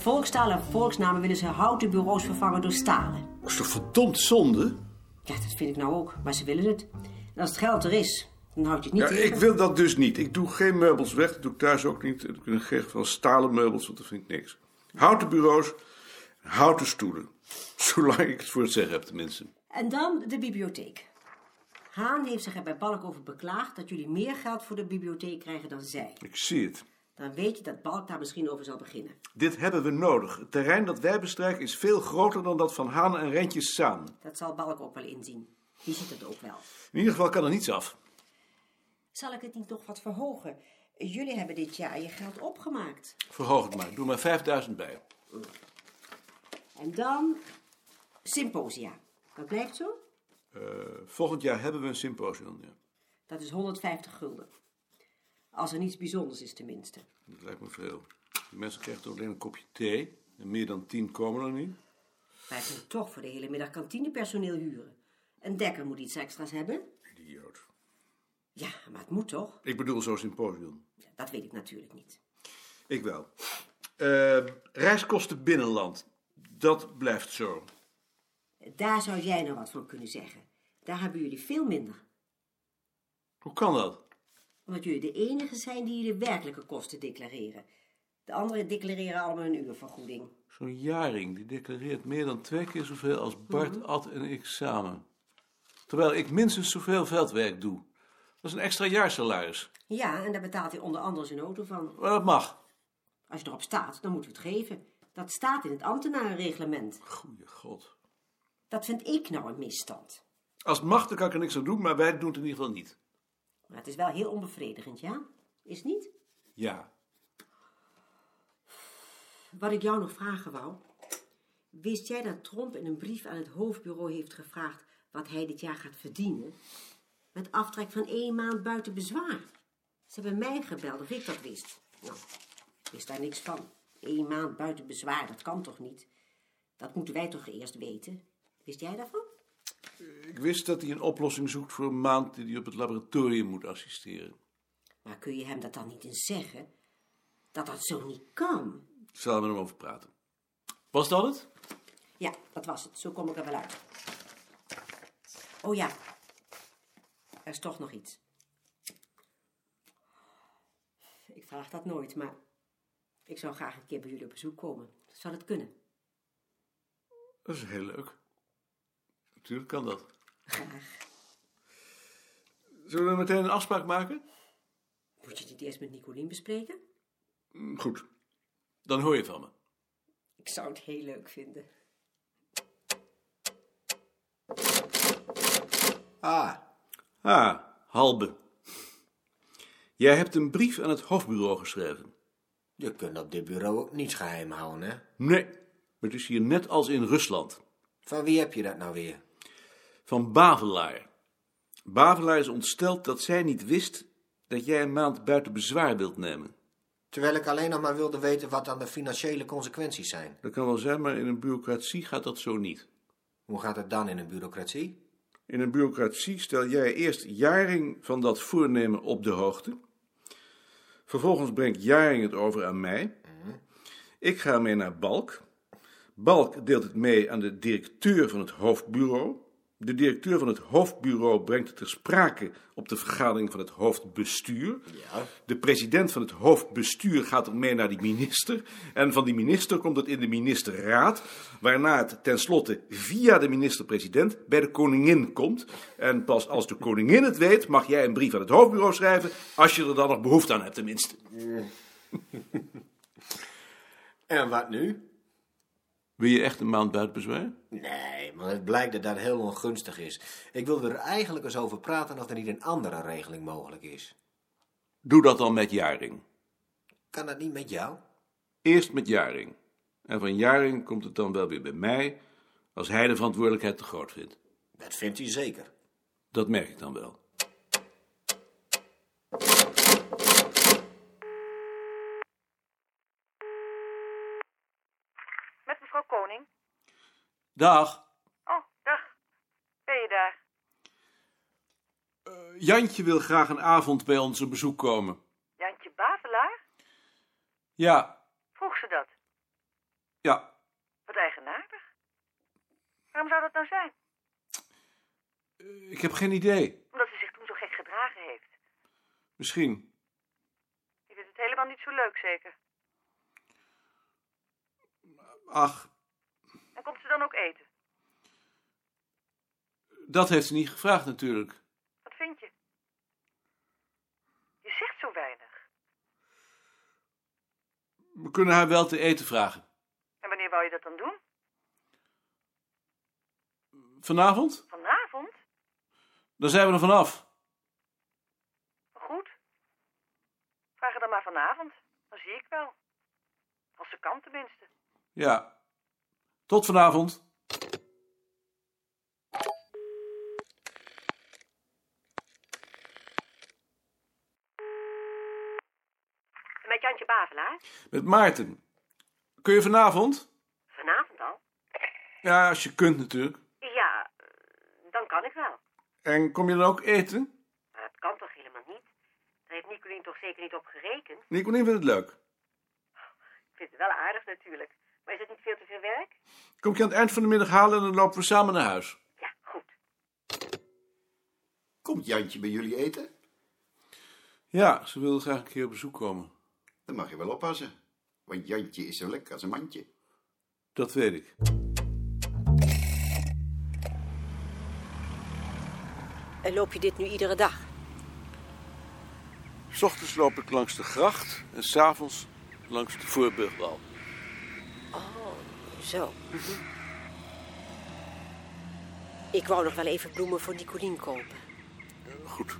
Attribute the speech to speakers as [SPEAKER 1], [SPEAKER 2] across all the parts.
[SPEAKER 1] volkstaal en volksnamen willen ze houten bureaus vervangen door stalen.
[SPEAKER 2] Dat is toch verdomd zonde?
[SPEAKER 1] Ja, dat vind ik nou ook, maar ze willen het. En als het geld er is, dan houd je het niet
[SPEAKER 2] Ja,
[SPEAKER 1] tegen.
[SPEAKER 2] ik wil dat dus niet. Ik doe geen meubels weg. Dat doe ik thuis ook niet. Ik ben geen van stalen meubels, want dat vind ik niks. Houten bureaus, houten stoelen. Zolang ik het voor het zeggen heb, tenminste.
[SPEAKER 1] En dan de bibliotheek. Haan heeft zich er bij Balk over beklaagd dat jullie meer geld voor de bibliotheek krijgen dan zij.
[SPEAKER 2] Ik zie het.
[SPEAKER 1] Dan weet je dat Balk daar misschien over zal beginnen.
[SPEAKER 2] Dit hebben we nodig. Het terrein dat wij bestrijken is veel groter dan dat van Haan en Rentjes samen.
[SPEAKER 1] Dat zal Balk ook wel inzien. Die ziet het ook wel.
[SPEAKER 2] In ieder geval kan er niets af.
[SPEAKER 1] Zal ik het niet nog wat verhogen? Jullie hebben dit jaar je geld opgemaakt.
[SPEAKER 2] Verhoog het maar. Doe maar 5000 bij.
[SPEAKER 1] En dan symposia. Dat blijft zo?
[SPEAKER 2] Eh, volgend jaar hebben we een symposium. Ja.
[SPEAKER 1] Dat is 150 gulden. Als er niets bijzonders is tenminste.
[SPEAKER 2] Dat lijkt me veel. De mensen krijgen toch alleen een kopje thee. En meer dan tien komen er niet.
[SPEAKER 1] Wij kunnen toch voor de hele middag kantinepersoneel huren. Een dekker moet iets extra's hebben.
[SPEAKER 2] Idioot.
[SPEAKER 1] Ja, maar het moet toch?
[SPEAKER 2] Ik bedoel zo'n symposium.
[SPEAKER 1] Dat weet ik natuurlijk niet.
[SPEAKER 2] Ik wel. Eh, reiskosten binnenland. Dat blijft zo.
[SPEAKER 1] Daar zou jij nou wat van kunnen zeggen. Daar hebben jullie veel minder.
[SPEAKER 2] Hoe kan dat?
[SPEAKER 1] Omdat jullie de enigen zijn die de werkelijke kosten declareren. De anderen declareren allemaal een uurvergoeding.
[SPEAKER 2] Zo'n jaring die declareert meer dan twee keer zoveel als Bart, Ad en ik samen. Terwijl ik minstens zoveel veldwerk doe. Dat is een extra jaarsalaris.
[SPEAKER 1] Ja, en daar betaalt hij onder andere zijn auto van.
[SPEAKER 2] Maar dat mag.
[SPEAKER 1] Als je erop staat, dan moeten we het geven. Dat staat in het ambtenarenreglement.
[SPEAKER 2] Goeie god.
[SPEAKER 1] Dat vind ik nou een misstand.
[SPEAKER 2] Als het mag, dan kan ik er niks aan doen, maar wij doen het in ieder geval niet.
[SPEAKER 1] Maar het is wel heel onbevredigend, ja? Is het niet?
[SPEAKER 2] Ja.
[SPEAKER 1] Wat ik jou nog vragen wou. Wist jij dat Tromp in een brief aan het hoofdbureau heeft gevraagd wat hij dit jaar gaat verdienen? Met aftrek van één maand buiten bezwaar. Ze hebben mij gebeld of ik dat wist. Nou, ik wist daar niks van. Eén maand buiten bezwaar, dat kan toch niet? Dat moeten wij toch eerst weten? Wist jij daarvan?
[SPEAKER 2] Ik wist dat hij een oplossing zoekt voor een maand die hij op het laboratorium moet assisteren.
[SPEAKER 1] Maar kun je hem dat dan niet eens zeggen? Dat dat zo niet kan.
[SPEAKER 2] Ik zal er met hem over praten. Was dat het?
[SPEAKER 1] Ja, dat was het. Zo kom ik er wel uit. Oh ja, er is toch nog iets. Ik vraag dat nooit, maar ik zou graag een keer bij jullie op bezoek komen. Zou dat kunnen?
[SPEAKER 2] Dat is heel leuk. Natuurlijk kan dat.
[SPEAKER 1] Graag.
[SPEAKER 2] Zullen we meteen een afspraak maken?
[SPEAKER 1] Moet je dit eerst met Nicolien bespreken?
[SPEAKER 2] Goed. Dan hoor je van me.
[SPEAKER 1] Ik zou het heel leuk vinden.
[SPEAKER 2] Ah. Ah, Halbe. Jij hebt een brief aan het hoofdbureau geschreven.
[SPEAKER 3] Je kunt op dit bureau ook niets geheim houden, hè?
[SPEAKER 2] Nee, het is hier net als in Rusland.
[SPEAKER 3] Van wie heb je dat nou weer?
[SPEAKER 2] Van Bavelaar. Bavelaar is ontsteld dat zij niet wist dat jij een maand buiten bezwaar wilt nemen.
[SPEAKER 3] Terwijl ik alleen nog maar wilde weten wat dan de financiële consequenties zijn.
[SPEAKER 2] Dat kan wel zijn, maar in een bureaucratie gaat dat zo niet.
[SPEAKER 3] Hoe gaat het dan in een bureaucratie?
[SPEAKER 2] In een bureaucratie stel jij eerst Jaring van dat voornemen op de hoogte. Vervolgens brengt Jaring het over aan mij. Ik ga mee naar Balk. Balk deelt het mee aan de directeur van het hoofdbureau. De directeur van het hoofdbureau brengt het ter sprake op de vergadering van het hoofdbestuur.
[SPEAKER 3] Ja.
[SPEAKER 2] De president van het hoofdbestuur gaat er mee naar die minister. En van die minister komt het in de ministerraad. Waarna het tenslotte via de minister-president bij de koningin komt. En pas als de koningin het weet, mag jij een brief aan het hoofdbureau schrijven. Als je er dan nog behoefte aan hebt, tenminste.
[SPEAKER 3] En wat nu?
[SPEAKER 2] Wil je echt een maand buiten bezwaar?
[SPEAKER 3] Nee, maar het blijkt dat dat heel ongunstig is. Ik wilde er eigenlijk eens over praten of er niet een andere regeling mogelijk is.
[SPEAKER 2] Doe dat dan met Jaring.
[SPEAKER 3] Kan dat niet met jou?
[SPEAKER 2] Eerst met Jaring. En van Jaring komt het dan wel weer bij mij. Als hij de verantwoordelijkheid te groot vindt.
[SPEAKER 3] Dat vindt hij zeker.
[SPEAKER 2] Dat merk ik dan wel.
[SPEAKER 4] Met mevrouw Koning.
[SPEAKER 2] Dag.
[SPEAKER 4] Oh, dag. Ben je daar?
[SPEAKER 2] Eh, Jantje wil graag een avond bij ons op bezoek komen.
[SPEAKER 4] Jantje Bavelaar?
[SPEAKER 2] Ja,
[SPEAKER 4] Vroeg ze dat?
[SPEAKER 2] Ja,
[SPEAKER 4] Wat eigenaardig. Waarom zou dat nou zijn?
[SPEAKER 2] ik heb geen idee.
[SPEAKER 4] Omdat ze zich toen zo gek gedragen heeft.
[SPEAKER 2] Misschien.
[SPEAKER 4] Je vindt het helemaal niet zo leuk, zeker.
[SPEAKER 2] Ach,
[SPEAKER 4] En komt ze dan ook eten?
[SPEAKER 2] dat heeft ze niet gevraagd natuurlijk.
[SPEAKER 4] Wat vind je? Je zegt zo weinig.
[SPEAKER 2] We kunnen haar wel te eten vragen.
[SPEAKER 4] En wanneer wou je dat dan doen?
[SPEAKER 2] Vanavond?
[SPEAKER 4] Vanavond?
[SPEAKER 2] Dan zijn we er vanaf.
[SPEAKER 4] Goed. Vraag het dan maar vanavond. Dan zie ik wel. Als ze kan tenminste.
[SPEAKER 2] Ja. Tot vanavond.
[SPEAKER 4] En met Jantje Bavelaar?
[SPEAKER 2] Met Maarten. Kun je vanavond?
[SPEAKER 4] Vanavond al?
[SPEAKER 2] Ja, als je kunt natuurlijk.
[SPEAKER 4] Ja, eh, dan kan ik wel.
[SPEAKER 2] En kom je dan ook eten?
[SPEAKER 4] Maar dat kan toch helemaal niet? Daar heeft Nicolien toch zeker niet op gerekend?
[SPEAKER 2] Nicolien vindt het leuk.
[SPEAKER 4] Ik vind het wel aardig natuurlijk. Maar is het niet veel te veel werk?
[SPEAKER 2] Kom ik je aan het eind van de middag halen en dan lopen we samen naar huis.
[SPEAKER 4] Ja, goed.
[SPEAKER 5] Komt Jantje bij jullie eten?
[SPEAKER 2] Ja, ze wilde graag een keer op bezoek komen.
[SPEAKER 5] Dan mag je wel oppassen. Want Jantje is zo lekker als een mandje.
[SPEAKER 2] Dat weet ik.
[SPEAKER 1] En loop je dit nu iedere dag?
[SPEAKER 2] S ochtends loop ik langs de gracht en s'avonds langs de voorburgwal.
[SPEAKER 1] Zo. Mhm. Ik wou nog wel even bloemen voor Nicolien kopen.
[SPEAKER 2] Goed.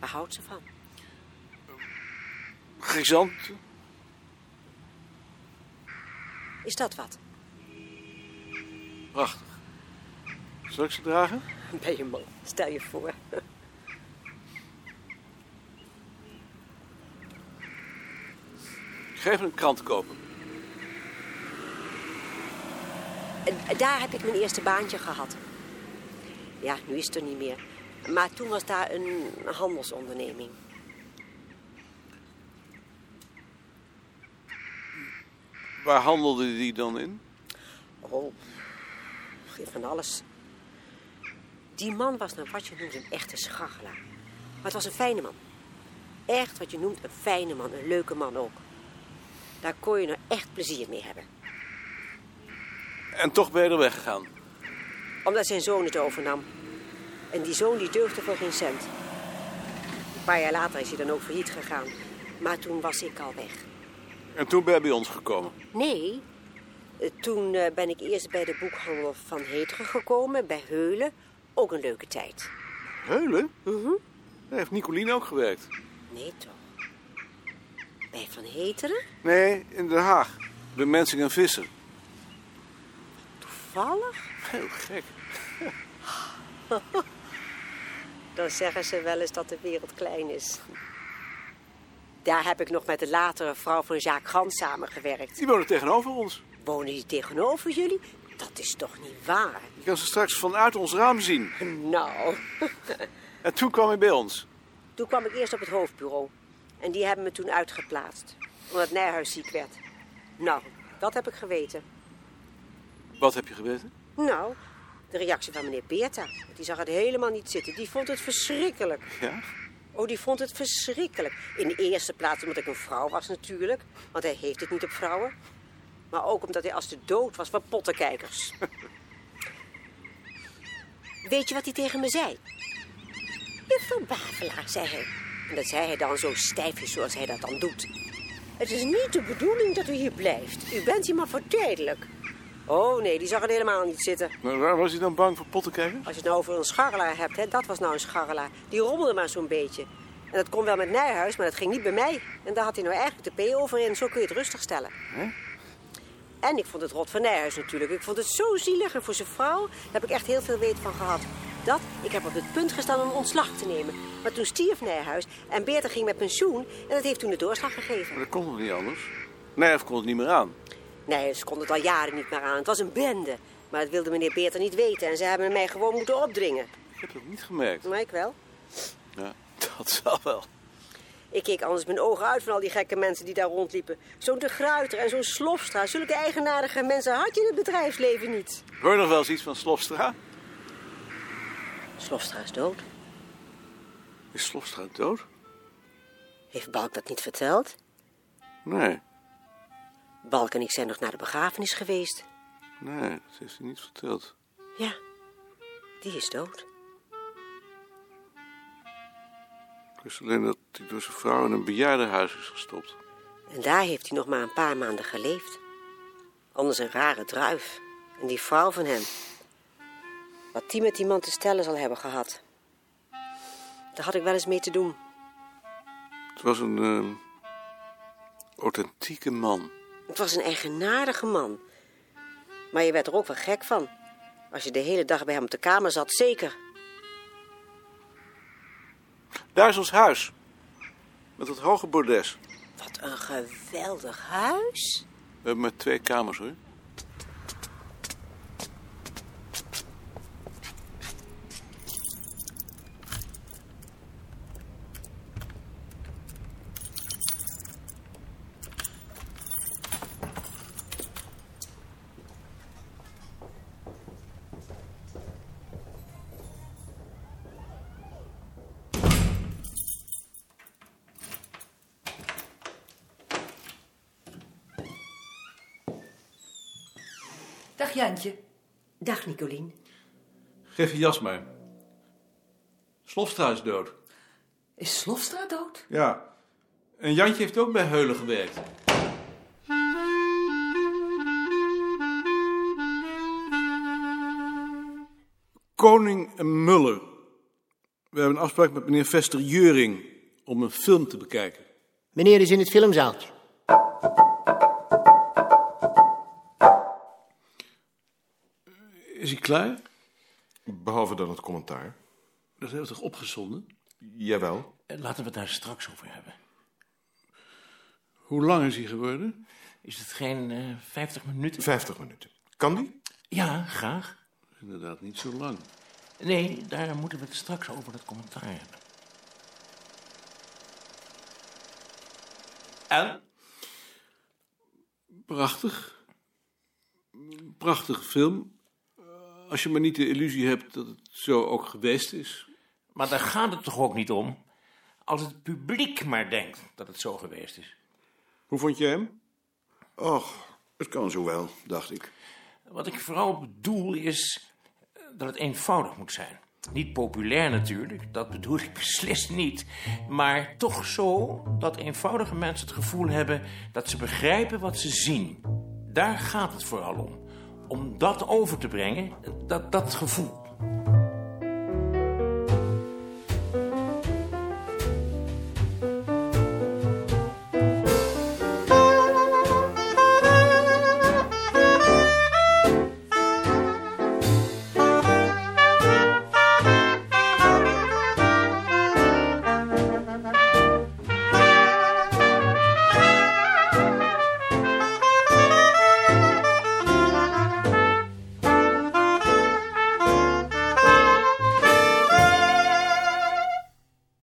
[SPEAKER 1] Waar houdt ze van?
[SPEAKER 2] Grisanten?
[SPEAKER 1] Is dat wat?
[SPEAKER 2] Prachtig. Zal ik ze dragen?
[SPEAKER 1] Ben je man, stel je voor.
[SPEAKER 2] Ik geef een krant kopen.
[SPEAKER 1] En Daar heb ik mijn eerste baantje gehad. Ja, nu is het er niet meer. Maar toen was daar een handelsonderneming.
[SPEAKER 2] Waar handelde die dan in?
[SPEAKER 1] Oh, geen van alles. Die man was naar wat je noemt een echte schachelaar. Maar het was een fijne man. Echt wat je noemt een fijne man, een leuke man ook. Daar kon je nou echt plezier mee hebben.
[SPEAKER 2] En toch ben je er weggegaan.
[SPEAKER 1] Omdat zijn zoon het overnam. En die zoon die deugde voor geen cent. Een paar jaar later is hij dan ook failliet gegaan. Maar toen was ik al weg.
[SPEAKER 2] En toen ben je bij ons gekomen.
[SPEAKER 1] Nee. Eh, Toen eh, ben ik eerst bij de boekhandel van Heteren gekomen, bij Heulen. Ook een leuke tijd.
[SPEAKER 2] Heulen? Daar heeft Nicolien ook gewerkt.
[SPEAKER 1] Nee toch? Bij Van Heteren?
[SPEAKER 2] Nee, in Den Haag. Bij Mensing en Visser.
[SPEAKER 1] Toevallig?
[SPEAKER 2] Heel gek.
[SPEAKER 1] Dan zeggen ze wel eens dat de wereld klein is. Daar heb ik nog met de latere vrouw van Jacques Gans samengewerkt.
[SPEAKER 2] Die wonen tegenover ons.
[SPEAKER 1] Wonen die tegenover jullie? Dat is toch niet waar?
[SPEAKER 2] Je kan ze straks vanuit ons raam zien.
[SPEAKER 1] Nou,
[SPEAKER 2] En toen kwam hij bij ons.
[SPEAKER 1] toen kwam ik eerst op het hoofdbureau. En die hebben me toen uitgeplaatst. Omdat Nijhuis ziek werd. Nou, dat heb ik geweten.
[SPEAKER 2] Wat heb je geweten?
[SPEAKER 1] Nou, de reactie van meneer Beerta. want Die zag het helemaal niet zitten. Die vond het verschrikkelijk.
[SPEAKER 2] Ja?
[SPEAKER 1] Oh, die vond het verschrikkelijk. In de eerste plaats omdat ik een vrouw was natuurlijk. Want hij heeft het niet op vrouwen. Maar ook omdat hij als de dood was van pottenkijkers. Weet je wat hij tegen me zei? Juffrouw Bavelaar, zei hij. En dat zei hij dan zo stijfjes zoals hij dat dan doet. Het is niet de bedoeling dat u hier blijft. U bent hier maar voor tijdelijk. Oh nee, die zag het helemaal niet zitten.
[SPEAKER 2] Maar waar was hij dan bang voor pottenkijkers?
[SPEAKER 1] Als je het nou over een scharrelaar hebt, hè, dat was nou een scharrelaar. Die rommelde maar zo'n beetje. En dat kon wel met Nijhuis, maar dat ging niet bij mij. En daar had hij nou eigenlijk de P over in. Zo kun je het rustig stellen. En ik vond het rot van Nijhuis natuurlijk. Ik vond het zo zielig en voor zijn vrouw daar heb ik echt heel veel weet van gehad. Dat, ik heb op het punt gestaan om ontslag te nemen. Maar toen stierf Nijhuis en Beerta ging met pensioen. En dat heeft toen de doorslag gegeven.
[SPEAKER 2] Maar dat kon nog niet anders. Nee, of kon het niet meer aan.
[SPEAKER 1] Nee, ze konden het al jaren niet meer aan. Het was een bende. Maar dat wilde meneer Beerta niet weten. En ze hebben mij gewoon moeten opdringen.
[SPEAKER 2] Ik heb dat niet gemerkt.
[SPEAKER 1] Maar ik wel.
[SPEAKER 2] Ja, dat zal wel.
[SPEAKER 1] Ik keek anders mijn ogen uit van al die gekke mensen die daar rondliepen. Zo'n De Gruyter en zo'n Slofstra. Zulke eigenaardige mensen had je in het bedrijfsleven niet.
[SPEAKER 2] Hoor je nog wel eens iets van Slofstra?
[SPEAKER 1] Slofstra is dood.
[SPEAKER 2] Is Slofstra dood?
[SPEAKER 1] Heeft Balk dat niet verteld?
[SPEAKER 2] Nee,
[SPEAKER 1] Balk en ik zijn nog naar de begrafenis geweest.
[SPEAKER 2] nee, dat heeft hij niet verteld.
[SPEAKER 1] Ja, die is dood.
[SPEAKER 2] Ik wist alleen dat hij door zijn vrouw in een bejaardenhuis is gestopt.
[SPEAKER 1] En daar heeft hij nog maar een paar maanden geleefd. Anders een rare druif. En die vrouw van hem. Wat die met die man te stellen zal hebben gehad. Daar had ik wel eens mee te doen.
[SPEAKER 2] Het was een ehm, authentieke man.
[SPEAKER 1] Het was een eigenaardige man. Maar je werd er ook wel gek van. Als je de hele dag bij hem op de kamer zat, zeker.
[SPEAKER 2] Daar is ons huis. Met dat hoge bordes.
[SPEAKER 1] Wat een geweldig huis.
[SPEAKER 2] We hebben maar twee kamers hoor.
[SPEAKER 6] Dag Jantje.
[SPEAKER 1] Dag, Nicolien.
[SPEAKER 2] Geef je jas maar. Slofstra is dood.
[SPEAKER 6] Is Slofstra dood?
[SPEAKER 2] Ja. En Jantje heeft ook bij Heulen gewerkt. Koning en Muller. We hebben een afspraak met meneer Vester Juring om een film te bekijken.
[SPEAKER 7] Meneer is in het filmzaaltje.
[SPEAKER 2] Is hij klaar?
[SPEAKER 8] Behalve dan het commentaar.
[SPEAKER 2] Dat hebben we toch opgezonden?
[SPEAKER 8] Jawel.
[SPEAKER 9] Eh, Laten we het daar straks over hebben.
[SPEAKER 2] Hoe lang is hij geworden?
[SPEAKER 9] Is het geen eh 50 minuten?
[SPEAKER 8] 50 minuten. Kan die?
[SPEAKER 9] Ja, graag.
[SPEAKER 2] Inderdaad, niet zo lang.
[SPEAKER 9] Nee, daar moeten we het straks over het commentaar hebben. En?
[SPEAKER 2] Prachtig. Prachtig film. Eh, Als je maar niet de illusie hebt dat het zo ook geweest is.
[SPEAKER 9] Maar daar gaat het toch ook niet om? Als het publiek maar denkt dat het zo geweest is.
[SPEAKER 2] Hoe vond je hem?
[SPEAKER 5] Och, het kan zo wel, dacht ik.
[SPEAKER 9] Wat ik vooral bedoel is eh, dat het eenvoudig moet zijn. Niet populair natuurlijk, dat bedoel ik beslist niet. Maar toch zo dat eenvoudige mensen het gevoel hebben dat ze begrijpen wat ze zien. Daar gaat het vooral om. Om dat over te brengen, dat, dat gevoel.